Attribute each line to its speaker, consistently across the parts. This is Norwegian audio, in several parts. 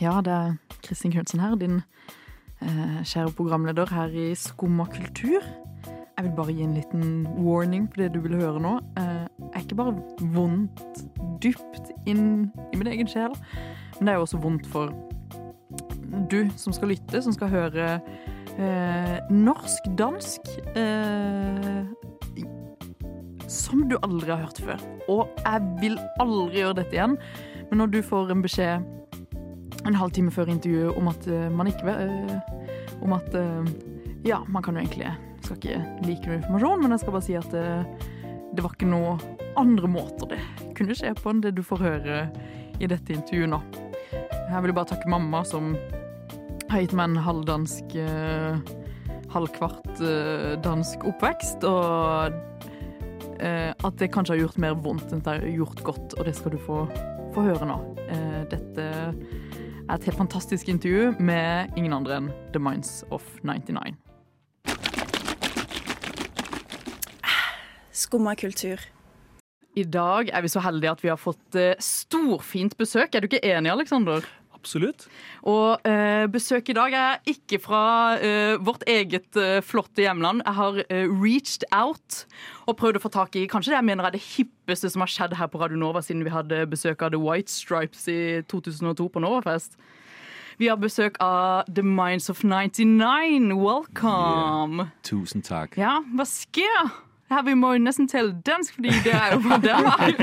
Speaker 1: Ja, det er Kristin Knutsen her, din eh, kjære programleder her i Skumma kultur. Jeg vil bare gi en liten warning på det du vil høre nå. Eh, jeg er ikke bare vondt dypt inn i min egen sjel, men det er jo også vondt for du som skal lytte, som skal høre eh, norsk-dansk eh, som du aldri har hørt før. Og jeg vil aldri gjøre dette igjen, men når du får en beskjed en halv time før intervjuet om at eh, man ikke eh, Om at eh, Ja, man kan jo egentlig Skal ikke like noe informasjon, men jeg skal bare si at eh, det var ikke noe andre måter det kunne skje på enn det du får høre i dette intervjuet nå. Jeg vil bare takke mamma som har gitt meg en halvdansk eh, Halvkvart eh, dansk oppvekst, og eh, at det kanskje har gjort mer vondt enn det har gjort godt, og det skal du få, få høre nå. Eh, dette er et helt fantastisk intervju med ingen andre enn The Minds of 99.
Speaker 2: Skumma kultur.
Speaker 1: I dag er vi så heldige at vi har fått eh, storfint besøk. Er du ikke enig, Aleksander?
Speaker 3: Absolutt.
Speaker 1: Og eh, besøket i dag er ikke fra eh, vårt eget eh, flotte hjemland. Jeg har eh, reached out og prøvd å få tak i kanskje det jeg mener er det hippeste som har skjedd her på Radio Nova siden vi hadde besøk av The White Stripes i 2002 på Novafest. Vi har besøk av The Minds of 99. Welcome!
Speaker 3: Tusen takk.
Speaker 1: Ja, hva skjer? Her Vi må jo nesten tale dansk, fordi det er jo fra Danmark.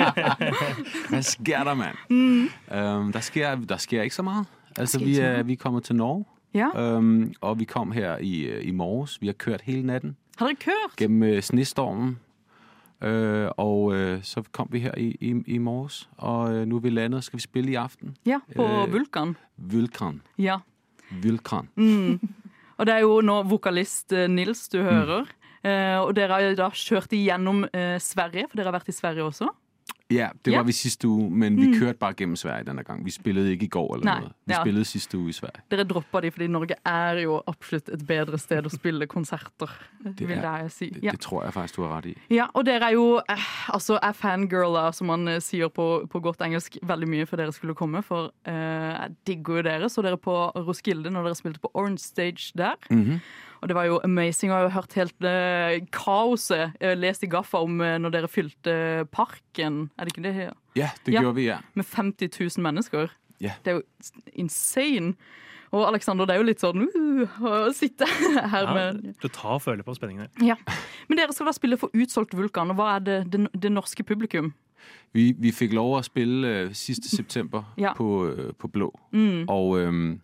Speaker 3: Hva skjer der, mann? Um, der, sker, der sker ikke så mye. Altså,
Speaker 1: Mm. sker
Speaker 3: vi,
Speaker 1: ikke så
Speaker 3: er, vi kommer til Norge,
Speaker 1: Ja,
Speaker 3: um, og vi kom her i, i morges. Vi har kørt hele natten
Speaker 1: Har dere hørt?
Speaker 3: gennem øh, snestormen. Øh, og øh, så kom vi her i, i, i morges, og øh, nu er vi landet, og skal vi spille i aften.
Speaker 1: Ja, på
Speaker 3: Eh.
Speaker 1: Vulkan.
Speaker 3: Vulkan.
Speaker 1: Ja.
Speaker 3: Vulkan.
Speaker 1: Mm. Og det er jo nå vokalist eh, Nils
Speaker 3: Mm.
Speaker 1: du hører. Eh, og dere har jo da kjørt igjennom eh, Sverige, for dere har vært i Sverige også.
Speaker 3: Ja, det
Speaker 1: Ja. Mm.
Speaker 3: var vi sidste uge, men vi kørte bare gennem Sverige denne gang. Vi spillede ikke i går eller
Speaker 1: Nej,
Speaker 3: noget. Vi
Speaker 1: ja.
Speaker 3: spillede sidste uge i Sverige.
Speaker 1: Dere droppa de fordi Norge er jo absolutt et bedre sted å spille konserter, vil
Speaker 3: er-
Speaker 1: jeg si.
Speaker 3: Det,
Speaker 1: Ja.
Speaker 3: det tror jeg faktisk, du har ret i.
Speaker 1: ja, Og dere er jo eh, altså er fangirler, som man eh, sier på, på godt engelsk, veldig mye før dere skulle komme. For eh, jeg digger jo dere. Så dere på Roskilde når dere spilte på Orange Stage der.
Speaker 3: Mhm.
Speaker 1: Og det var jo amazing. Og jeg har jo hørt helt eh, kaoset. Jeg har lest i Gaffa om eh, når dere fylte parken. Er det ikke det her?
Speaker 3: Ja, det
Speaker 1: Ja.
Speaker 3: gjorde vi, ja.
Speaker 1: Med 50 000 mennesker.
Speaker 3: Ja.
Speaker 1: Det er jo insane. Og Aleksander, det er jo litt sånn uh, å sitte her
Speaker 4: Ja,
Speaker 1: med
Speaker 4: du tar og føler på spenningen her.
Speaker 1: ja. Men dere skal da spille for utsolgt Vulkan, og hva er det, det, det norske publikum?
Speaker 3: Vi, vi fik lov at spille øh, sidste september
Speaker 1: Ja.
Speaker 3: på, øh, på Blå,
Speaker 1: Mm.
Speaker 3: og øhm,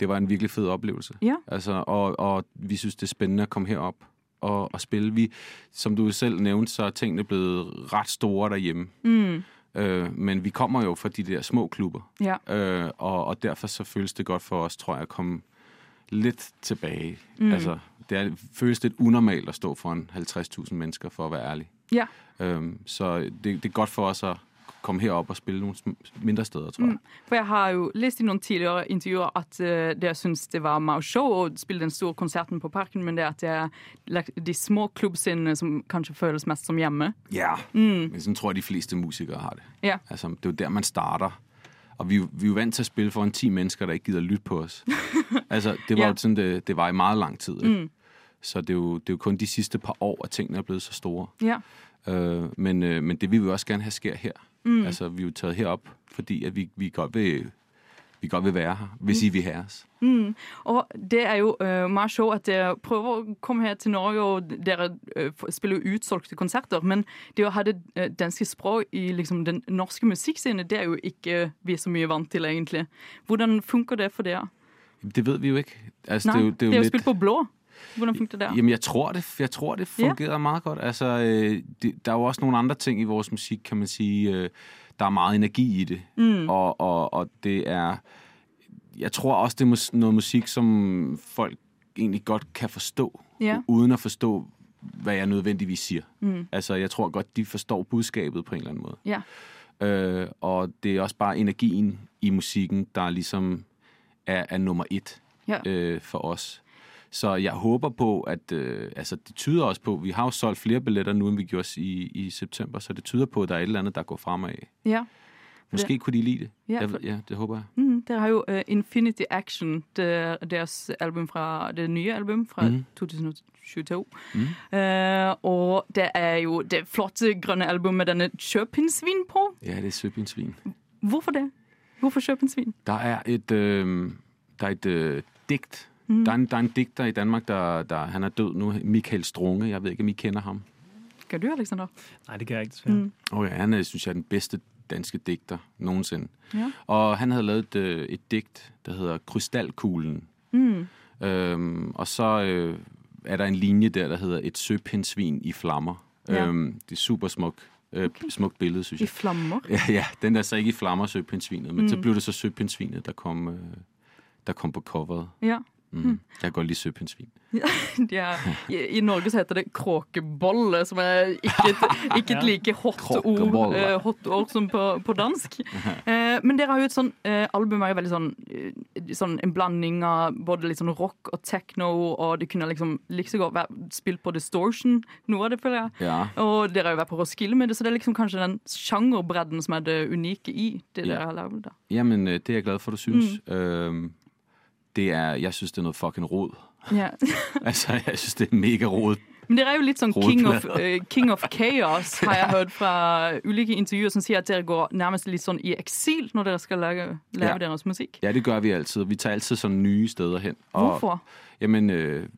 Speaker 3: det var en virkelig fed oplevelse.
Speaker 1: Ja.
Speaker 3: Altså, og, og vi synes, det er spændende at komme herop og, og spille. Vi, som du selv nævnte, så er tingene blevet ret store derhjemme.
Speaker 1: Mm.
Speaker 3: Øh, men vi kommer jo fra de der små klubber,
Speaker 1: Ja.
Speaker 3: øh, og, og derfor så føles det godt for os, tror jeg, at komme lidt tilbage.
Speaker 1: Mm.
Speaker 3: Altså, det er, føles lidt unormalt at stå foran 50.000 mennesker, for at være ærlig.
Speaker 1: ja.
Speaker 3: Øhm, så det, det er godt for os at komme herop og spille nogle sm- mindre steder, tror jeg.
Speaker 1: For jeg har jo lest i noen tidligere intervjuer at eh, dere syns det var mau show å spille den store konserten på Parken, men det er at det er like, de små klubbscenene som kanskje føles mest som hjemme.
Speaker 3: Ja, men sådan tror jeg, de fleste musikere har det.
Speaker 1: Ja.
Speaker 3: Altså, det er jo der, man starter. Og vi, er jo- vi er jo vant til at spille foran 10 mennesker, der ikke gider lytte på os. altså, det var
Speaker 1: Ja.
Speaker 3: jo sådan, det, det var i meget lang tid. Ikke? Så det er, jo, det er jo kun de sidste par år, at tingene er blevet så store.
Speaker 1: Ja.
Speaker 3: Øh, men, øh, men det vil vi jo også gerne have sker her. Mm. Altså, vi er jo taget herop, fordi at vi, vi, godt vil, vi godt vil være her, hvis I vil have os.
Speaker 1: Og det er jo eh, meget show at dere prøver å komme her til Norge, og dere eh, f- spiller jo utsolgte konserter. Men det å ha det eh, danske språk i liksom, den norske musikkscenen, det er jo ikke øh, vi så mye vant til, egentlig. Hvordan funker det for dere?
Speaker 3: Det ved vi jo ikke. Altså,
Speaker 1: Nei,
Speaker 3: det er jo, det er jo
Speaker 1: dere har
Speaker 3: lidt...
Speaker 1: spilt på blå. Hvordan funker det der?
Speaker 3: Jamen, jeg tror det, jeg tror, det
Speaker 1: Ja.
Speaker 3: fungerer meget godt. Altså, øh, det, der er jo også nogle andre ting i vores musik, kan man sige. Øh, der er meget energi i det. Mm. Og, og, og det er... Jeg tror også, det er mus- noget musik, som folk egentlig godt kan forstå,
Speaker 1: Ja.
Speaker 3: u- uden at forstå, hvad jeg nødvendigvis siger. Mm. Altså, jeg tror godt, de forstår budskabet på en eller anden måde.
Speaker 1: Ja.
Speaker 3: Øh, og det er også bare energien i musikken, der ligesom er, er nummer et
Speaker 1: Ja.
Speaker 3: øh, for os. Så jeg håber på, at øh, altså det tyder også på, vi har jo solgt flere billetter nu, end vi gjorde i, i september, så det tyder på, at der er et eller andet, der går fremad.
Speaker 1: ja.
Speaker 3: Måske kunne de lide det.
Speaker 1: Ja,
Speaker 3: jeg,
Speaker 1: for-
Speaker 3: ved- ja, det håber jeg.
Speaker 1: Dere har jo eh, Infinity Action, det, deres album fra, det nye album fra
Speaker 3: Mhm.
Speaker 1: 2022.
Speaker 3: Mhm.
Speaker 1: Eh, og det er jo det flotte grønne album med denne kjøpinsvin på.
Speaker 3: Ja, det er søbindsvin.
Speaker 1: Hvorfor det? Hvorfor kjøpinsvin?
Speaker 3: Der er et, øh, der er et øh, digt.
Speaker 1: Mm.
Speaker 3: Der, er en, der er en digter i Danmark, der, der han er død nu. Michael Strunge. Jeg ved ikke, om I kender ham.
Speaker 1: Skal du, Alexander?
Speaker 4: Nej, det kan jeg ikke, desværre.
Speaker 1: Mm.
Speaker 3: Okay, han er, synes jeg, er den bedste danske digter nogensinde.
Speaker 1: Ja.
Speaker 3: Og han havde lavet et, øh, et digt, der hedder Krystalkuglen.
Speaker 1: Mm.
Speaker 3: Øhm, og så øh, er der en linje der, der hedder Et søpindsvin i flammer.
Speaker 1: Ja.
Speaker 3: Øhm, det er super smuk, øh, smukt billede, synes
Speaker 1: I
Speaker 3: jeg.
Speaker 1: flammer?
Speaker 3: Ja, ja, den er så ikke i flammer, søpindsvinet, men så
Speaker 1: Mm.
Speaker 3: blev det så søpindsvinet, der kom, øh, der kom på coveret.
Speaker 1: Ja.
Speaker 3: Mm.
Speaker 1: Mm.
Speaker 3: Jeg kan godt lide søpindsvin.
Speaker 1: ja. I, I Norge så heter det kråkebolle, som er ikke et, ikke et
Speaker 4: Ja.
Speaker 1: like hot ord,
Speaker 3: Kråkebolle.
Speaker 1: eh, hot ord som på, på dansk. Eh, men dere har jo et sånn eh, album er jo veldig sånn, eh, sånn en blanding av både litt sånn rock og techno, og det kunne liksom like så godt vært spilt på distortion, noe av det, føler jeg.
Speaker 3: Ja.
Speaker 1: Og dere har jo vært på Roskilde med det, så det er liksom kanskje den sjangerbredden som er det unike i det
Speaker 3: Ja.
Speaker 1: dere har laget. da.
Speaker 3: Jamen, øh, det er jeg glad for, du synes. Mm. Øhm, det er, jeg synes, det er noget fucking rod. altså, jeg synes, det er mega rod.
Speaker 1: Men dere er jo litt sånn king of, eh, king of chaos, har jeg hørt fra ulike intervjuer som sier at dere går nærmest litt sånn i eksil når dere skal lage, lage
Speaker 3: Ja.
Speaker 1: deres musikk.
Speaker 3: Ja, det gør vi altid. Vi tager altid sådan nye steder hen.
Speaker 1: Hvorfor?
Speaker 3: Jamen, øh,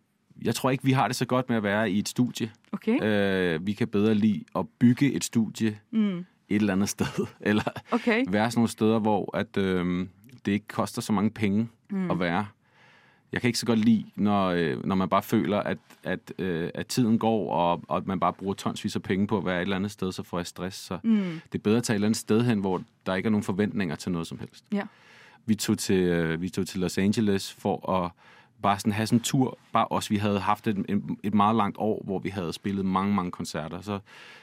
Speaker 3: jeg tror ikke, vi har det så godt med at være i et studie.
Speaker 1: Ok,
Speaker 3: Øh, vi kan bedre lide at bygge et studie
Speaker 1: Mm.
Speaker 3: et eller andet sted. Eller
Speaker 1: ok.
Speaker 3: være sådan nogle steder, hvor at, øh, det ikke koster så mange penge mm. at være. Jeg kan ikke så godt lide, når, øh, når man bare føler, at, at, øh, at tiden går, og, og at man bare bruger tonsvis af penge på at være et eller andet sted, så får jeg stress. Så
Speaker 1: Mm.
Speaker 3: det er bedre at tage et eller andet sted hen, hvor der ikke er nogen forventninger til noget som helst.
Speaker 1: Ja.
Speaker 3: Vi tog til, øh, vi tog til Los Angeles for at bare sådan have sådan en tur. Bare os, vi havde haft et, en- et meget langt år, hvor vi havde spillet mange, mange koncerter. Så,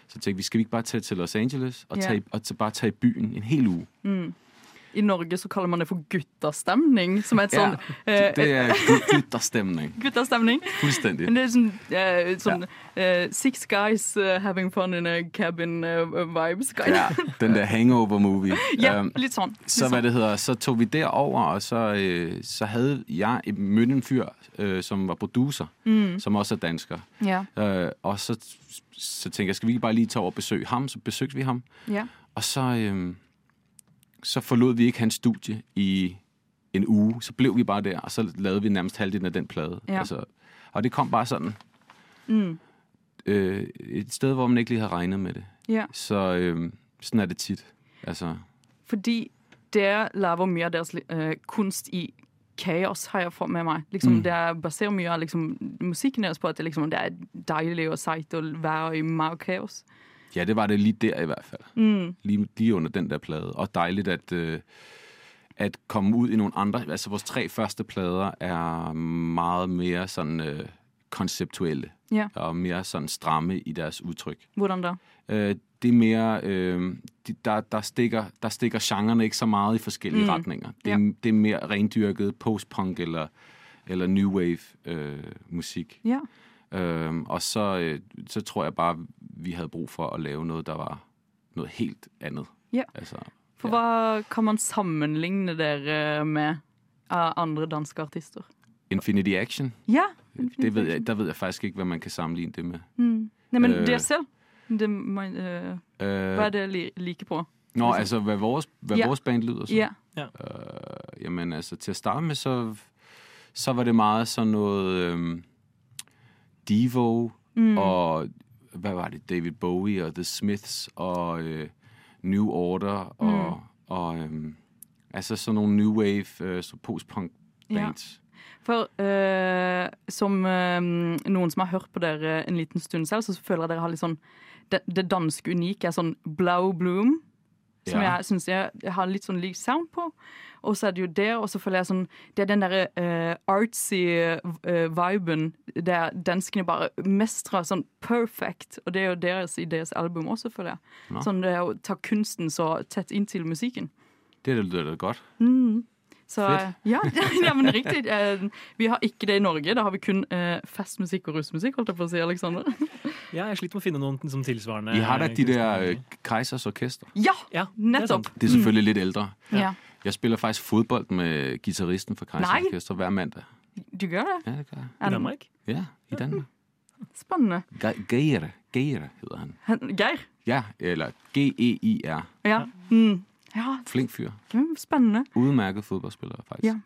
Speaker 3: så tænkte vi, skal vi ikke bare tage til Los Angeles og,
Speaker 1: Ja.
Speaker 3: tage, og t- bare tage i byen en hel uge?
Speaker 1: I Norge så kaller man det for guttastemning, som er et sånn
Speaker 3: det,
Speaker 1: eh,
Speaker 3: det er gu- gutterstemning.
Speaker 1: Guttastemning.
Speaker 3: Fuldstændig.
Speaker 1: Men det er sånn, eh, sånn eh, Six guys eh, having fun in a cabin eh, vibes.
Speaker 3: Ja, den der hangover-movie.
Speaker 1: Ja,
Speaker 3: Øhm,
Speaker 1: litt sånn. Litt
Speaker 3: så
Speaker 1: sånn.
Speaker 3: hvad det hedder, så tog vi derover, og så, øh, så havde jeg mødt en fyr, øh, som var producer, mm. som også er dansker.
Speaker 2: Ja.
Speaker 3: Øh, og så, så tænkte jeg, skal vi ikke bare lige tage over og besøge ham? Så besøgte vi ham,
Speaker 2: Ja.
Speaker 3: og så, øh, så forlod vi ikke hans studie i en uge. Så blev vi bare der, og så lavede vi nærmest halvdelen af den plade.
Speaker 1: Ja.
Speaker 3: Altså, og det kom bare sådan. Øh, et sted, hvor man ikke lige havde regnet med det.
Speaker 1: Ja.
Speaker 3: Så øh, sådan er det tit. Altså,
Speaker 1: Fordi dere lager mye av deres eh, kunst i kaos, har jeg fått med Ligesom, meg. Liksom, Dere baserer mye av liksom, ligesom, musikken deres på at det, liksom, det er deilig og seigt å være i mer kaos.
Speaker 3: Ja, det var det lige der i hvert fald. Mm. Lige, lige under den der plade. Og dejligt at, øh, at komme ud i nogle andre... Altså, vores tre første plader er meget mere sådan øh, konceptuelle.
Speaker 1: Ja.
Speaker 3: Og mere sådan stramme i deres udtryk.
Speaker 1: Hvordan da?
Speaker 3: Øh, det er mere... Øh, de, der, der, stikker, der stikker genrerne ikke så meget i forskellige
Speaker 1: Mm.
Speaker 3: retninger. Det er, det er mere rendyrket postpunk eller, eller new wave øh, musik.
Speaker 1: Ja.
Speaker 3: Øhm, og så, øh, så tror jeg bare, vi havde brug for at lave noget, der var noget helt andet.
Speaker 1: Ja.
Speaker 3: Altså,
Speaker 1: For hva kan man sammenligne dere med av andre danske artister?
Speaker 3: Infinity Action,
Speaker 1: Ja!
Speaker 3: det ved jeg, der ved jeg faktisk ikke, hvad man kan sammenligne det med.
Speaker 1: Mm. Nei, men
Speaker 3: Øh.
Speaker 1: dere selv? Det, man, eh, hva
Speaker 3: Øh,
Speaker 1: er det li like på?
Speaker 3: nå, altså, hvad vores, hvad
Speaker 1: Ja.
Speaker 3: vores band lyder som.
Speaker 1: Ja.
Speaker 3: Øh, jamen, altså, til at starte med, så, så var det meget sådan noget øhm, Devo mm. og, hvad var det, David Bowie og The Smiths og øh, New Order og, mm. og øhm, altså sådan nogle New Wave, øh, så postpunk
Speaker 1: Ja.
Speaker 3: bands.
Speaker 1: For eh, som eh, noen som har hørt på dere eh, en liten stund selv, så føler jeg dere har litt sånn Det, det danske unike er sånn blau bloom, som
Speaker 3: Ja.
Speaker 1: jeg syns jeg, jeg har litt sånn lik sound på. Og så er det jo det, og så føler jeg sånn Det er den derre eh, artsy eh, viben der danskene bare mestrer sånn perfect, og det er jo deres i deres album også, føler jeg.
Speaker 3: Nå.
Speaker 1: Sånn det er å ta kunsten så tett inn til musikken.
Speaker 3: Det lyder da godt.
Speaker 1: Så,
Speaker 3: Fedt.
Speaker 1: Ja, ja, men riktig. Eh, Vi har ikke det i Norge. Da har vi kun eh, festmusikk og rusmusikk, holdt jeg på å si, Aleksander.
Speaker 4: Ja, jeg sliter med å finne noen som tilsvarende.
Speaker 3: I eh, har da de der
Speaker 4: kunstnere.
Speaker 3: øh, Kaisers Orkester.
Speaker 1: Ja!
Speaker 4: Ja, det er
Speaker 1: Nettopp.
Speaker 4: sant.
Speaker 3: Det er selvfølgelig lidt ældre.
Speaker 1: Mm. Ja.
Speaker 3: Jeg spiller faktisk fodbold med gitarristen for Kreis
Speaker 1: Nej.
Speaker 3: Orkester hver mandag.
Speaker 1: Du gjør det?
Speaker 3: Ja, det gør jeg.
Speaker 1: Er
Speaker 4: I
Speaker 1: den-
Speaker 4: Danmark?
Speaker 3: Ja, i Danmark.
Speaker 1: Spennende.
Speaker 3: Ge- Geir, Geir hedder han.
Speaker 1: Han- Geir?
Speaker 3: Ja, eller G-E-I-R.
Speaker 1: Ja. Mm. ja.
Speaker 3: Flink fyr.
Speaker 1: mm, Spennende.
Speaker 3: Udmærket fodboldspiller, faktisk.
Speaker 1: Ja.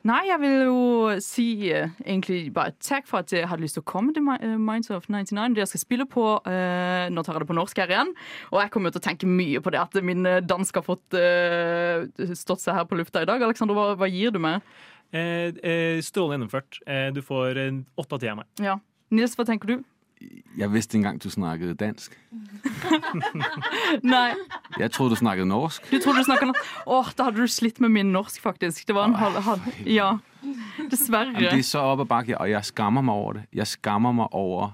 Speaker 1: Nei, jeg vil jo si eh, egentlig bare takk for at jeg hadde lyst til å komme til Mi- eh, Minds of 99. Det jeg skal spille på eh, Nå tar jeg det på norsk her igjen. Og jeg kommer jo til å tenke mye på det at min eh, dansk har fått eh, stått seg her på lufta i dag. Alexander, hva, hva gir du meg?
Speaker 4: Eh, eh, strålende gjennomført. Eh, du får eh, åtte av ti av meg.
Speaker 1: Ja. Nils, hva tenker du?
Speaker 3: Jeg vidste ikke engang, du snakkede dansk.
Speaker 1: Nei,
Speaker 3: Jeg troede, du snakkede norsk.
Speaker 1: du trodde du snakka norsk. Åh, da hadde du slitt med min norsk, faktisk. Det var en halv... halv ja.
Speaker 3: Jamen, det
Speaker 1: Dessverre.
Speaker 3: er så op ad bakke, og jeg skammer mig over det. Jeg skammer mig over,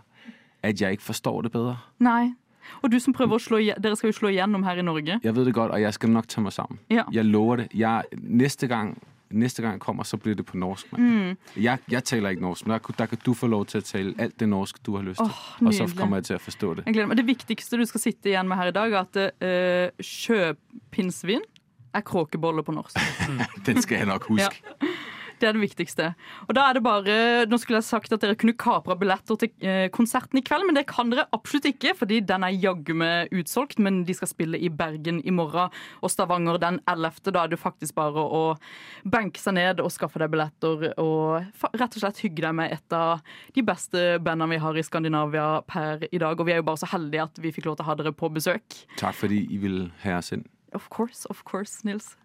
Speaker 3: at jeg ikke forstår det bedre.
Speaker 1: Nei. Og du som prøver å slå igje- Dere skal jo slå igjennom her i Norge.
Speaker 3: Jeg ved det godt, og jeg skal nok tage mig sammen.
Speaker 1: Ja.
Speaker 3: Jeg lover det. Jeg, næste, gang, næste gang jeg kommer, så bliver det på norsk.
Speaker 1: Mm.
Speaker 3: mand. Jeg, jeg taler ikke norsk, men der, kunne- der kan du få lov til at tale alt det norsk, du har lyst til.
Speaker 1: Åh,
Speaker 3: og så
Speaker 1: nydelig.
Speaker 3: kommer jeg til at forstå det.
Speaker 1: Jeg gleder meg. Det viktigste du skal sitte igjen med her i dag, er at eh, sjøpinnsvin er kråkebolle på norsk.
Speaker 3: Den skal jeg nok huske.
Speaker 1: Det er det viktigste. Og da er det bare, Nå skulle jeg sagt at dere kunne kapra billetter til eh, konserten i kveld, men det kan dere absolutt ikke, fordi den er jaggu meg utsolgt. Men de skal spille i Bergen i morgen og Stavanger den 11. Da er det faktisk bare å benke seg ned og skaffe deg billetter og fa rett og slett hygge deg med et av de beste bandene vi har i Skandinavia per i dag. Og vi er jo bare så heldige at vi fikk lov til å ha dere på besøk.
Speaker 3: Tak fordi I ville have os ind.
Speaker 1: Of course, of course, Nils.